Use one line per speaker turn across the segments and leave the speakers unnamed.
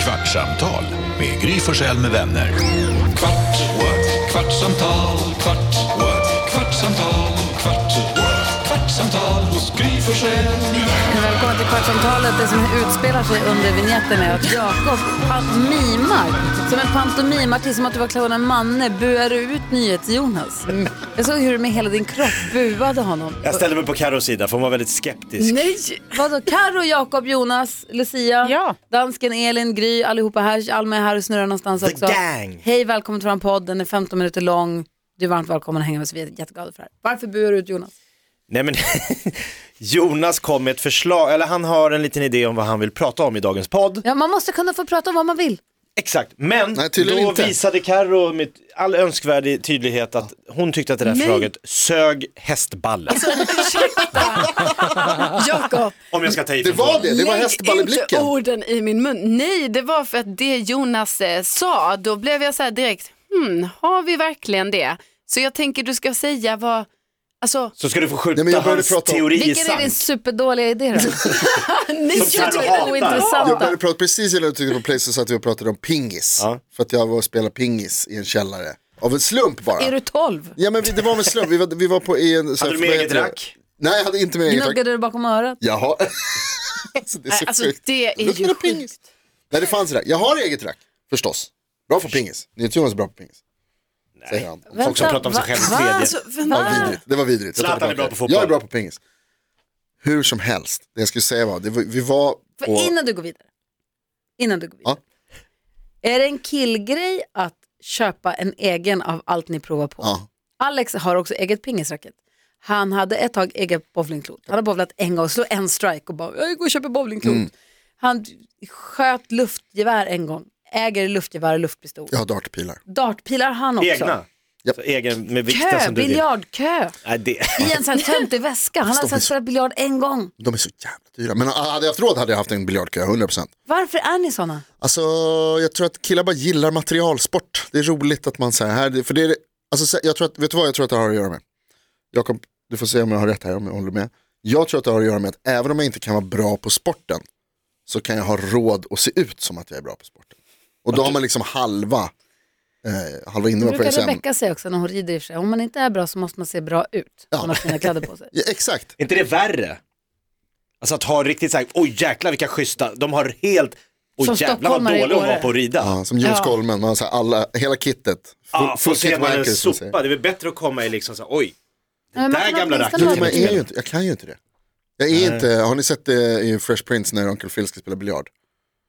Kvartsamtal med Gry Forssell med vänner. Kvart, what? kvartsamtal, kvart, what? kvartsamtal, kvart, what? kvartsamtal hos Gry Forssell med vänner.
Välkommen till Kvartsamtalet. Det som utspelar sig under vignetten är att Jakob att mimar, som en pantomimartist, som att du var clownen Manne, buar du ut NyhetsJonas. Jag såg hur du med hela din kropp buade honom.
Jag ställde mig på Carros sida för hon var väldigt skeptisk.
Nej! Vadå, Karo, Jakob, Jonas, Lucia,
Ja.
dansken, Elin, Gry, allihopa här. Alma är här och snurrar någonstans
The
också.
gang.
Hej, välkommen till vår podd. Den är 15 minuter lång. Du är varmt välkommen att hänga med oss. Vi är jätteglada för det här. Varför buar du ut Jonas?
Nej men Jonas kom med ett förslag, eller han har en liten idé om vad han vill prata om i dagens podd.
Ja, man måste kunna få prata om vad man vill.
Exakt, men
Nej, tydligen
då
inte.
visade Carro med all önskvärd tydlighet att hon tyckte att det där förslaget sög hästballen.
Jakob,
om jag ska ta i
Det
från
var det, det var
lägg inte
hästballeblicken.
orden i min mun. Nej, det var för att det Jonas eh, sa, då blev jag så här direkt, hmm, har vi verkligen det? Så jag tänker du ska säga vad, alltså,
Så ska du få skjuta
Nej, men jag började
hans
prata om-
teori i
Vilken är din
sank.
superdåliga idé då?
nej,
Som Carro
jag tror-
hatar.
Jag
ointressanta.
började prata precis innan du tryckte på play så satt vi och pratade om pingis.
Ja.
För att jag var och spelade pingis i en källare. Av en slump bara.
Är du 12?
Ja men vi- det var av en slump, vi var, vi var på i en... så
Hade
här-
du med
vad
eget
heter det?
rack?
Nej jag hade inte med eget rack.
Gnuggade du bakom örat?
Jaha. alltså det är så
Alltså
sjukt.
det är
Luktar
ju
det pingis?
sjukt.
Nej det fanns rack, jag har eget rack. Förstås. Bra för pingis. Nyhets-Jonas är bra på pingis. Säger han.
Folk som pratar om sig själv i
va?
tredje.
Alltså,
Ja,
vänta.
vidrigt. Det var vidrigt. Jag tar
Zlatan är
tillbaka
bra på
det.
fotboll.
Jag är bra på pingis. Hur som helst, det jag skulle säga var, det var vi var
För
på...
innan du går vidare. Innan du går vidare. Är det en killgrej att köpa en egen av allt ni provar på?
Ja.
Alex har också eget pingisracket. Han hade ett tag eget bowlingklot. Han har bowlat en gång, slog en strike och bara, jag går och köper bowlingklot. Han sköt luftgevär en gång, äger luftgevär och luftpistol.
Jag har dartpilar.
Dartpilar han också.
Egna.
Japp.
Så egen med vikten
Kö,
som du vill.
biljardkö.
Nej, det...
I en sån här töntig väska. Han har
Stoppis.
satt spelat biljard en gång.
De är så jävla dyra. Men ah, hade jag haft råd hade jag haft en biljardkö, 100%.
Varför är ni såna?
Alltså, jag tror att killar bara gillar materialsport. Det är roligt att man så här, för det är, alltså, så- jag tror att, vet du vad jag tror att det har att göra med? Jakob, du får se om jag har rätt här, om jag håller med. Jag tror att det har att göra med att även om jag inte kan vara bra på sporten, så kan jag ha råd att se ut som att jag är bra på sporten. Och då har man liksom halva, eh, halva
Det
innehållet på
brukar
det sen.
Rebecka säga också när hon rider i och för sig. Om man inte är bra så måste man se bra ut. Om man har fina kläder på sig.
Ja, exakt.
Är inte det värre? Alltså att ha riktigt såhär, oj jäklar vilka schyssta, de har helt,
Som
oj jävlar vad
stockholmare i
dålig hon var
Åre.
på att rida.
Ja, som Jules Colman, man har så här alla, hela kittet.
Ja, får se man en
wankers, som man säger.
sopa, det är väl bättre att komma i liksom såhär, oj, det
men man
där
kan
gamla
åtminstone
rackaren.
Jo,
ha
kan inte
men jag, är ju
spela.
inte, jag kan ju inte det. Jag är inte, har ni sett det i Fresh Prince när Uncle Phil ska spela biljard?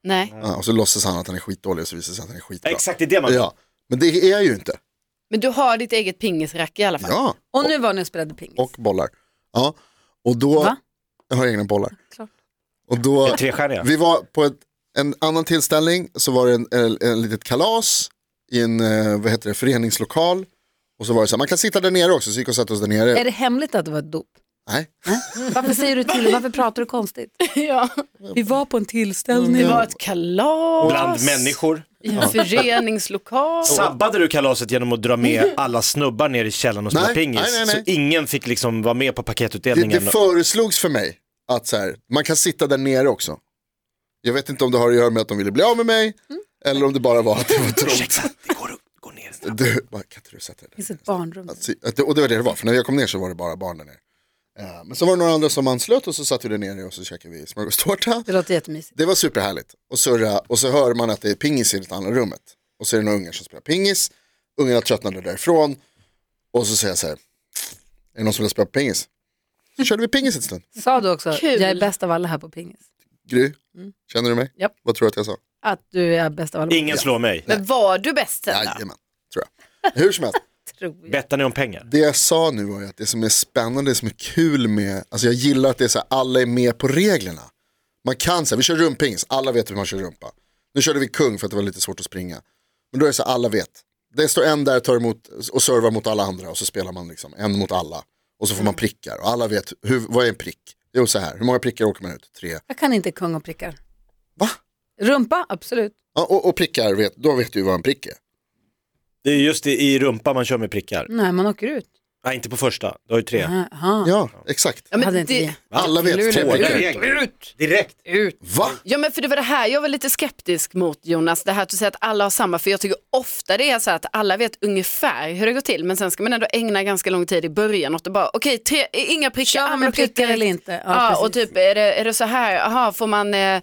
Nej,
Ja, och så låtsas han att han är skitdålig och så visar det sig att han är skitbra.
Exakt, det är det man
Ja, men det är jag ju inte.
men du har ditt eget pingisrack i alla fall.
Ja,
Och nu var ni och spelade pingis.
och bollar. Ja, och då,
Va?
jag har egna bollar.
Klart.
Och då,
Trestjärniga.
vi var på ett, en annan tillställning, så var det en, en, en litet kalas i en, eh, vad heter det, föreningslokal. Och så var det så här, man kan sitta där nere också, så gick och satte oss där nere.
Är det hemligt att det var ett dop?
Nej,
Varför säger du till? Varför pratar du konstigt? Mm.
Ja.
Vi var på en tillställning.
Det var ett kalas
Bland människor.
i en föreningslokal.
Sabbade du kalaset genom att dra
Mm.
med alla snubbar ner i källaren och spela
Nej,
pingis?
nej, nej, nej.
Så ingen fick liksom vara med på
det, det
paketutdelningen?
föreslogs för mig att så här, man kan sitta där nere också. Jag vet inte om det har att göra med att de ville bli av med mig, eller om det bara var att det var trångt.
Ursäkta, det går att gå ner.
Du, bara, kan inte du sätta dig där?
Det finns ett barnrum.
Att se- att det- Och det var det det var, för när jag kom ner så var det bara barn där nere. Eh, Men så var det några andra som anslöt och så satt vi där nere och så käkade vi smörgåstårta.
Det låter jättemysigt.
Det var superhärligt. Och, surra, och så hör man att det är pingis i det andra rummet. Och så är det några ungar som spelar pingis. Ungarna tröttnade därifrån. Och så säger jag så här, är det någon som vill spela pingis? Så körde vi pingis en stund.
Sa du också,
Kul.
jag är bäst av alla här på pingis?
Gry, känner du mig?
Japp.
Vad tror du att jag sa?
Att du är bäst av alla?
Ingen slår mig.
Men var du bäst sen då?
Jajamän, tror jag. Hur som helst.
Tror jag.
Bettar ni om pengar?
Det jag sa nu var ju att det som är spännande, det som är kul med, alltså jag gillar att det är så här, alla är med på reglerna. Man kan säga, vi kör rumpings, alla vet hur man kör rumpa. Nu körde vi kung för att det var lite svårt att springa. Men då är det så här, alla vet. Det står en där, tar emot och servar mot alla andra och så spelar man liksom en mot alla. Och så får man prickar och alla vet, hur, vad är en prick? Jo så här, hur många prickar åker man ut? Tre.
Jag kan inte kung och prickar.
Va?
Rumpa, absolut.
Ja, och, och prickar, vet, då vet du vad en prick är.
Mm.
Det är just i- i rumpa man kör med prickar.
Nej, man åker ut.
Nej, inte på första. Du har ju
Mm.
tre.
Aha.
Ja, exakt.
Ja, men
Hade inte
det,
vi.
Alla vet
Två
två.
direkt. Direkt.
Va?
ja, men för det var det här jag var lite skeptisk mot Jonas, det här att du säger att alla har samma, för jag tycker ofta det är så här att alla vet ungefär hur det går till, men sen ska man ändå ägna ganska lång tid i början åt att bara, okej, tre- inga prickar,
Kör
ja,
man
men
med prickar
prickar
eller inte? Ja,
Ja, och
precis.
typ är det, är det så här, aha, får man, eh,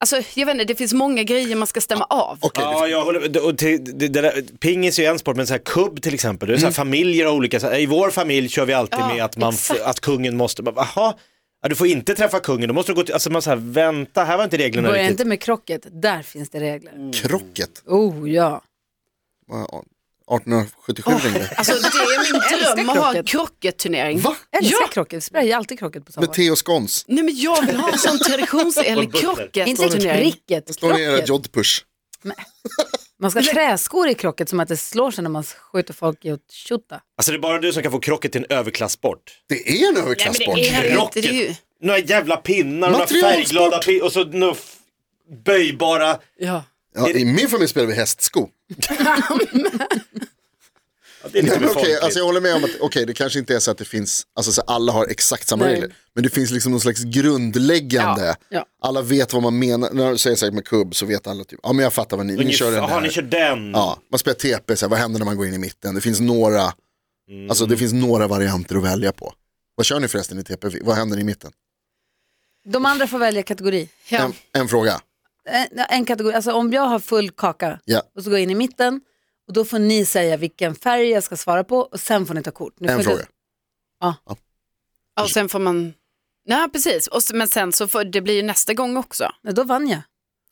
alltså jag vet inte, det finns många grejer man ska stämma av.
Okej, det-
Ja, jag håller med. och till, det, det där, Pingis är ju en sport, men så här kubb till exempel, det är så här familjer och olika, så här, i vår familj kör vi alltid
Mm. Ja,
med att, man, f-
exakt.
att kungen måste, bara, aha, ja, du får inte träffa kungen, då måste du gå till, alltså man så här, vänta, här var inte reglerna
Börja
riktigt.
inte med krocket, där finns det
Mm.
regler.
krocket.
Oh ja.
Ja, 1877 ringde.
Alltså det är min
älskar
dröm att ha en
krocket.
krocketturnering.
Va?
Älskar
Ja.
krocket, sprayar alltid krocket på
Med
sommaren.
te och skons.
Nej men jag vill ha en sån traditionsenlig
Inte
krocketturnering.
cricket,
Står ni i era
krocket.
jodpush?
Man ska ha träskor i krocket som att det slår sig när man skjuter folk i att tjota.
Alltså det är bara du som kan få krocket till en överklassport.
Det är en överklassport.
Nej, men det är-
Krocket,
det ju-
några jävla pinnar, några
Materialsport.
färgglada pinnar och så några f- böjbara,
Ja.
Ja, I min familj spelar vi hästsko.
ja, det är lite
Nej, men
för
okej,
folkligt.
alltså jag håller med om att okej, det kanske inte är så att det finns, alltså så att alla har exakt samma
Nej.
regler. Men det finns liksom någon slags grundläggande.
Ja, ja.
Alla vet vad man menar. När du säger så här med kubb så vet alla typ, ja men jag fattar vad ni, ni
Ungefär-
kör den
Jaha,
där.
ni kör den.
Ja, man spelar TP, så här, vad händer när man går in i mitten? Det finns några,
Mm.
alltså det finns några varianter att välja på. Vad kör ni förresten i TP? Vad händer i mitten?
De andra får välja kategori.
Ja.
En, en fråga.
En, en kategori, alltså om jag har full kaka
Ja.
och så går jag in i mitten och då får ni säga vilken färg jag ska svara på och sen får ni ta kort. Ni får
En
inte-
fråga.
Ja, Och sen får man, nej precis, och, s- men sen så får, det blir ju nästa gång också. Ja.
Nej, då vann jag.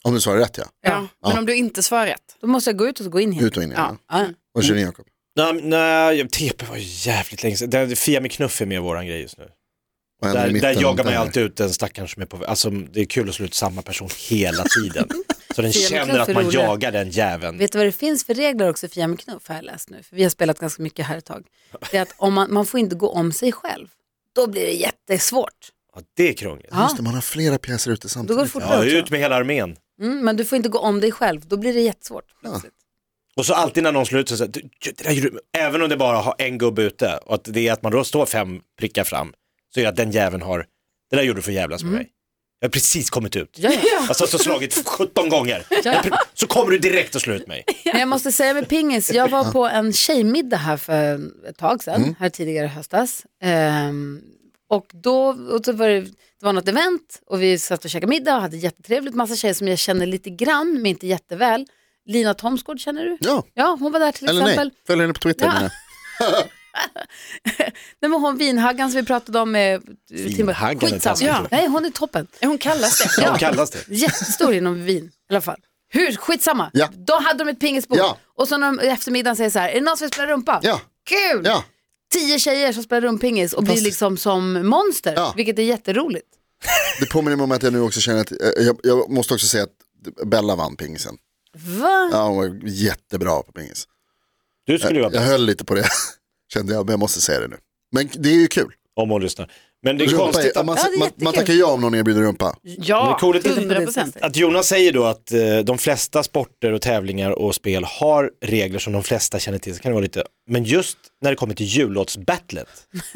Om du svarar rätt ja.
Men
Ja.
om du inte svarar rätt.
Då måste jag gå ut och så gå in igen.
Ut och in igen.
Ja.
Ja.
Vad kör ni
Mm.
Jakob?
Nej, nej, jag- TP var ju jävligt länge sedan. Det- Fia med knuff är med i våran grej just nu.
Vad händer i
Där,
mitten?
där jagar man ju
Där.
alltid ut den stackaren som är på Alltså det är kul att slå ut samma person hela tiden. Så den
Fia, men
känner
klart
att
för
man
roliga.
jagar den jäveln.
Vet du vad det finns för regler också för Jämmer Knuff har jag läst nu? För vi har spelat ganska mycket här ett tag. Det är att om man, man får inte gå om sig själv. Då blir det jättesvårt.
Ja, det är krångligt.
Ja.
Just det, man har flera pjäser ute
Då går det
samtidigt.
fort
Ja,
ja,
ut med hela armén.
mm, Men du får inte gå om dig själv. Då blir det jättesvårt. plötsligt.
Och så alltid när någon slår ut så säger du, "Du, det där gjorde du." även om det bara har en gubbe ute och att det är att man då står fem prickar fram, så är det att den jäveln har, det där gjorde du för jävlas
Mm.
med mig. Jag har precis kommit ut.
Ja, ja.
Alltså så slagit 17 gånger. Jag pre- Så kommer du direkt och slår ut mig.
Men jag måste säga med pingis, jag var på en tjejmiddag här för ett tag sedan,
Mm.
här tidigare i höstas. Ehm, och då och så var det, det var något event och vi satt och käkade middag och hade jättetrevligt, massa tjejer som jag känner lite grann men inte jätteväl. Lina Thomsgård känner du?
Ja,
Ja, hon var där till
eller
exempel.
nej. Följ henne på Twitter.
Ja.
menar jag.
Nej, men hon vinhaggan som vi pratade om. Eh,
Vinhaggan är
Skitsamma.
taskigt.
Ja. Nej, hon är toppen. Hon kallas det.
Ja. kallas det.
Jättestor inom vin i alla fall. Hur? Skitsamma.
Ja.
Då hade de ett pingisbord.
Ja.
Och så när de i eftermiddagen säger så här, är det någon som vill spela rumpa?
Ja.
Kul!
Ja.
Tio tjejer som spelar rumpingis och blir
Fantastiskt.
liksom som monster,
Ja.
vilket är jätteroligt.
Det påminner mig om att jag nu också känner att, eh, jag, jag måste också säga att Bella vann pingisen.
Va?
Ja, hon var jättebra på pingis.
Du skulle ju vara
Jag
bäst
höll lite på det, kände jag, men jag måste säga det nu. Men det är ju kul.
om hon lyssnar. Men det är
Rumpa
konstigt
är,
att
man,
Ja, det är
man, man
jättekul.
tackar ja om någon erbjuder rumpa.
Det är
Ja,
coolt.
100
procent.
procent.
Att Jonas säger då att eh, de flesta sporter och tävlingar och spel har regler som de flesta känner till, så kan det vara lite, men just när det kommer till jullåtsbattlet,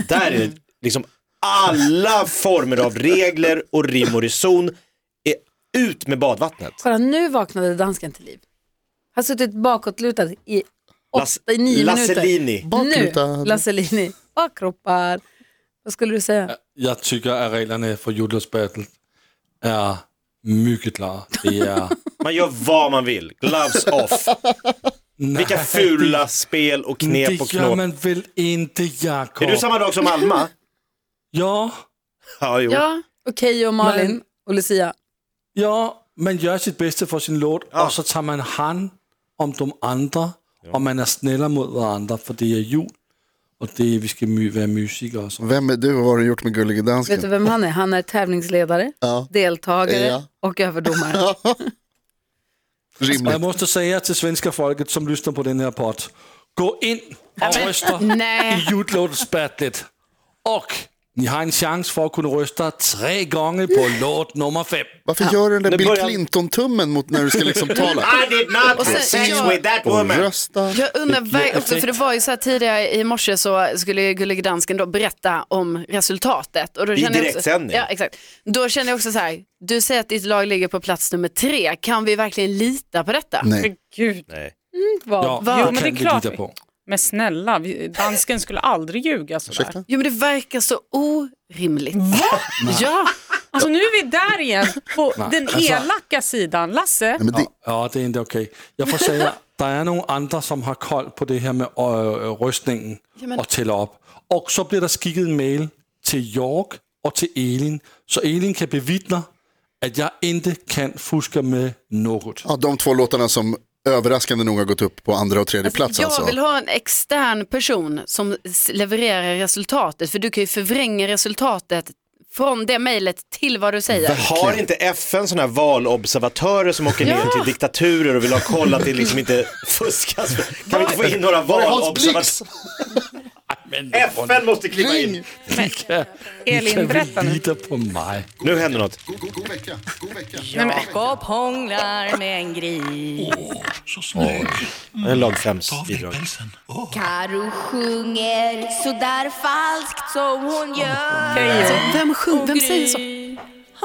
där är det liksom alla former av regler och rim och reson är ut med badvattnet.
Kolla, nu vaknade dansken till liv. Han har suttit bakåtlutad i
Las-
åtta, i nio minuter.
Lasselini.
Baklutad.
Nu, Lasselini. Bakkroppar. Vad skulle du
Äh.
säga?
Jeg tycker att reglerna för jullåtsbattle är mycket klara. Det är...
Man gör vad man vill, gloves off, vilka fula spel och knep och
Det gör
knåp.
man väl inte, Jakob?
Är du samma dag som Alma?
Ja,
Ja, jo.
Ja,
Okej och Malin
Men-
och Lucia.
ja, man gör sitt bästa för sin låt och så tar man hand om de andra och man är snälla mot varandra för det är jul och det är, vi ska my- vara musiker och så.
Vem är du och vad har du gjort med Gullige
Vet du
Dansken?
vem han är? Han är tävlingsledare,
Ja.
deltagare
Ja.
och överdomare.
Och jag
Rimligt.
måste säga till svenska folket som lyssnar på den här podd, gå in och rösta
nej.
i jullåtsbattlet och Ni har en chans för att kunna rösta tre gånger på låt nummer fem.
Varför gör du den där
Nu
Bill
börjar-
Clinton-tummen mot när du ska liksom tala?
did not
Och sen- sex jag- with
that
Och rösta.
Jag undrar verkligen också, för det var ju så här tidigare i morse så skulle Gullig Dansken då berätta om resultatet. Och då kände jag
direktsändning.
Också, ja, exakt. Då känner jag också så här, du säger att ditt lag ligger på plats nummer tre, kan vi verkligen lita på detta?
Nej.
Gud,
Nej.
vad...
Ja,
jo,
det
men det
kan
är
vi
klart.
lita på.
Men snälla, vi- dansken skulle aldrig ljuga sådär.
Ursäkta?
Jo men det verkar så orimligt. Ja,
Alltså nu är vi där igen, på den
alltså-
elaka sidan. Lasse,
Nej, men det,
Ja, det är inte okej. Jag får säga, det är några andra som har koll på det här med øh, röstningen
Jamen.
och tälla upp. Och så blir det skickat en mail till York och till Elin, så Elin kan bevittna att jag inte kan fuska med något.
ja, de två låtarna som överraskande nog har gått upp på andra och tredje plats
jag
alltså.
vill ha en extern person som s- levererar resultatet, för du kan ju förvränga resultatet från det mejlet till vad du säger.
Har inte FN sådana här valobservatörer som åker ner till diktaturer och vill ha koll att det liksom inte fuskas? Kan vi inte få in några
Var är Hans Blix?
valobservatörer? FN måste kliva in.
Elin, berätta nu.
lita på mig.
Nu händer något.
God, god, god vecka, god vecka.
Jakob hånglar med en gris.
En lagfrämsbidrag.
Karo sjunger sådär falskt som hon gör.
Hej,
Vem, sjung, vem
Gry
säger så?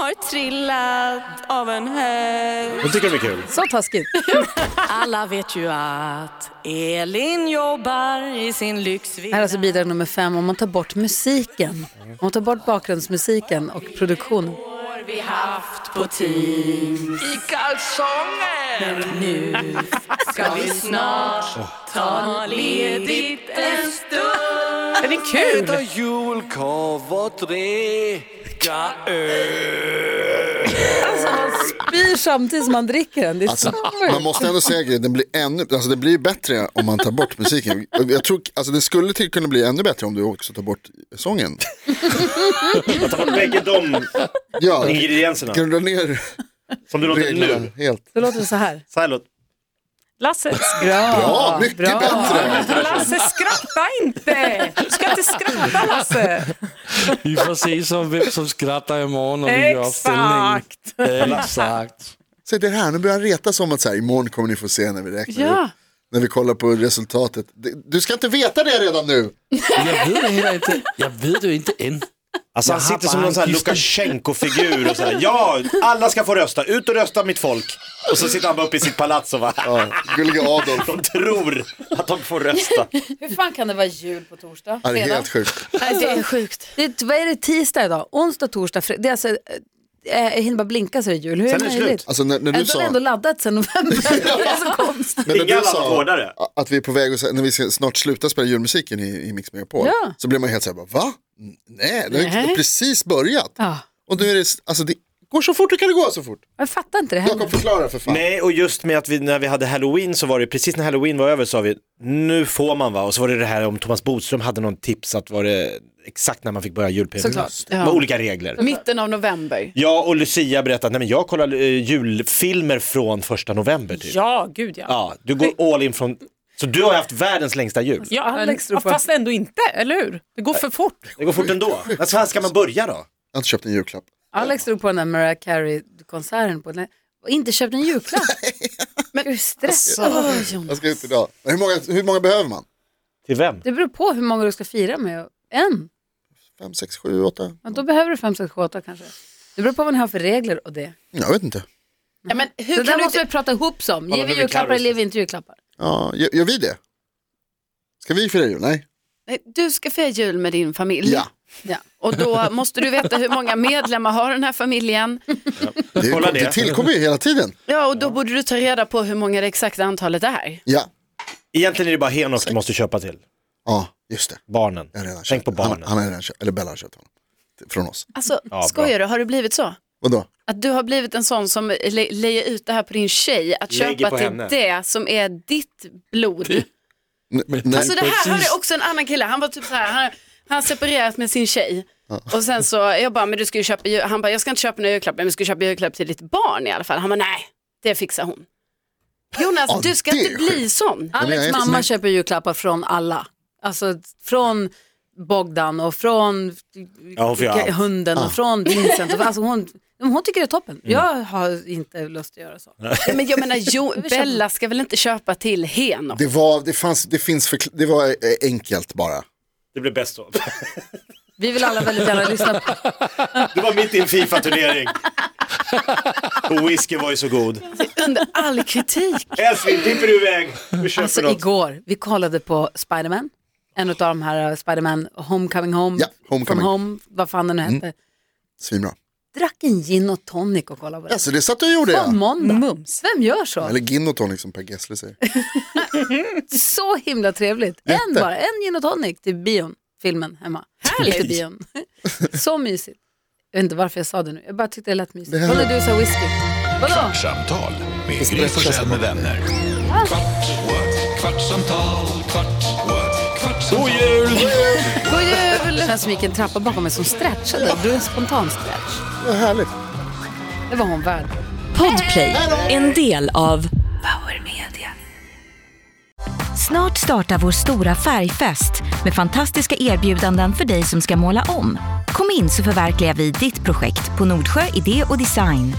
Har trillat av en hög.
De tycker de är kul.
Så taskigt.
Alla vet ju att Elin jobbar i sin
Här är
lyxvilla.
alltså bidrag nummer fem. Om man tar bort musiken, om man tar bort bakgrundsmusiken och produktionen.
Vi haft på Teams. I kalsonger. Men nu ska vi snart ta ledigt en stund.
Den är kul.
Alltså man spyr samtidigt som man dricker den. Det är
Alltså,
så
man
sjukt.
måste ändå säga att den blir ännu, alltså det blir bättre om man tar bort musiken. Jag tror, alltså det skulle till kunna bli ännu bättre om du också tar bort sången.
Jag tar bort bägge de
Ja,
ingredienserna
kan du dra ner
som du låter
reglerna
nu.
helt?
Då låter det så här.
Så här låter
Lasse,
Ja, mycket bättre.
Lasse skratta inte. Du ska inte skratta Lasse.
Vi får se som vem som skrattar imorgon när vi gör uppställningen.
Exakt.
Exakt.
Så det här, nu börjar han retas om att så här, imorgon kommer ni få se när vi räknar
Ja.
upp, när vi kollar på resultatet. Det- Du ska inte veta det redan nu.
Jag vet det heller inte. Jag vet ju inte än.
Alltså han
Jag
sitter
har
som
bara
någon sån här
en gissning.
Lukasjenko-figur och så här, ja, alla ska få rösta, ut och rösta mitt folk. Och så sitter han bara uppe i sitt palats och bara,
Ja, Gullige Adolf.
de tror att de får rösta.
Hur fan kan det vara jul på torsdag?
Ja, Det är
Fredag?
helt sjukt.
Nej, det är sjukt.
Det är, vad är det tisdag idag? Onsdag, torsdag, fredag. Det är alltså, eh, jag hinner bara blinka så är det jul. Hur är
Sen
det
är det slut.
möjligt?
Alltså när, när
Ändå
du
har det
sa,
ändå laddat sen november. Det är så konstigt.
men när
Inga
du sa
laddgårdare.
att vi är på väg att, när vi ska snart sluta spela julmusiken i, i Mix Megapol,
Ja.
så blir man helt så här, bara, va? N- Nej, det har ju precis börjat.
Ja.
Och nu är det, alltså det går så fort det kan det gå så fort.
Jag fattar inte det
Jakob
heller.
förklara för fan.
Nej, och just med att vi, när vi hade halloween så var det precis när halloween var över sa vi, nu får man va? Och så var det det här om Thomas Bodström hade någon tips att var det exakt när man fick börja julpynt.
Såklart.
Det var olika regler.
Mitten av november.
Ja, och Lucia berättade att nej, men jag kollar eh, julfilmer från första november typ.
Ja, gud ja.
Ja, du går all in från, så du har haft världens längsta jul.
Ja,
Alex
men,
ropar.
fast ändå inte, eller hur? Det går för fort.
Det går fort ändå. När fan ska man börja då?
Jag har inte köpt en julklapp.
Alex drog på den där Mariah Carey-konserten på den. Och inte köpt en julklapp. Men hur stress.
Jag ska ut idag. Men Hur många, hur många behöver man?
Till vem?
Det beror på hur många du ska fira med. En.
Fem, sex, sju, åtta?
Men då behöver du fem, sex, sju, åtta kanske. Det beror på vad ni har för regler och det.
Jag vet inte.
Ja, men hur
Det
kan
där
du
måste
inte...
vi prata ihop som.
Kolla,
Ger
nu
vi
är vi
julklappar
Carros.
eller ger vi inte julklappar?
Ja, gör, gör vi det? Ska vi fira jul? Nej.
Nej, Du ska fira jul med din familj.
Ja.
Ja.
Och då måste du veta hur många medlemmar har den här familjen.
Det,
Kolla det.
det tillkommer ju hela tiden.
Ja, och då borde du ta reda på hur många det exakta antalet är.
Ja,
Egentligen är det bara Henok du måste köpa till.
ja just det.
Barnen.
Jag har redan
Tänk
köpt
på
den.
barnen.
Han, han har redan köpt, eller Bella har köpt honom. Från oss.
Alltså,
bra.
skojar du? Har du blivit så?
Vadå?
Att du har blivit en sån som le- lägger ut det här på din tjej, att
Lägger på
köpa till
henne.
det som är ditt blod.
N- nej.
Alltså det här hörde
precis.
jag också en annan kille, han var typ så här, han, han separerat med sin tjej. Och sen så, jag bara, men du ska ju köpa, jul-" han bara, jag ska inte köpa några julklappar, men du ska köpa julklapp till ditt barn i alla fall. Han bara, nej, det fixar hon. Jonas,
Ja,
du ska
det är
inte bli sån.
men jag
Alex
är inte
mamma
snäll.
köper julklappar från alla. Alltså från Bogdan och från
Ja, hon får göra allt. Ah.
hunden och från Vincent. Och, alltså hon, hon tycker det är toppen.
Mm.
Jag har inte lust att göra så.
Ja, men jag menar, jo, Bella ska väl inte köpa till Henok?
Det var, det fanns, det finns förkl- det var eh, enkelt bara.
Det blev bäst så.
Vi vill alla väldigt gärna lyssna på
Det var mitt i en Fifa-turnering. Och whisky var ju så god.
Under all kritik.
Älskling, klipper du iväg? Vi köper
Alltså igår, vi kollade på Spiderman, en av de här eh, Spiderman, Homecoming Home,
Ja, Homecoming.
From Home, vad fan den nu
Mm.
hette.
Svinbra.
Drack en gin och tonic och kollade på den.
Alltså det satt du och gjorde
På
ja.
måndag. Mums. Vem gör så?
Eller gin och tonic som Per Gessle säger.
Så himla trevligt. En
Jätte.
bara, en gin och tonic till bion, filmen hemma.
Härligt.
Inte bion. så mysigt. Jag vet inte varför jag sa det nu, jag bara tyckte det lät mysigt.
Det här-
Kolla du sa whisky. Vadå?
Kvartsamtal med Gry Forssell med vänner. Kvart, what? kvartsamtal, kvart, what? kvartsamtal. God jul!
God jul! Det känns som det gick en trappa bakom mig som stretchade. Det blev en spontan stretch.
Vad härligt.
Det var hon värd.
Podplay, en del av
Power Media.
Snart startar vår stora färgfest med fantastiska erbjudanden för dig som ska måla om. Kom in så förverkligar vi ditt projekt på Nordsjö Idé och Design.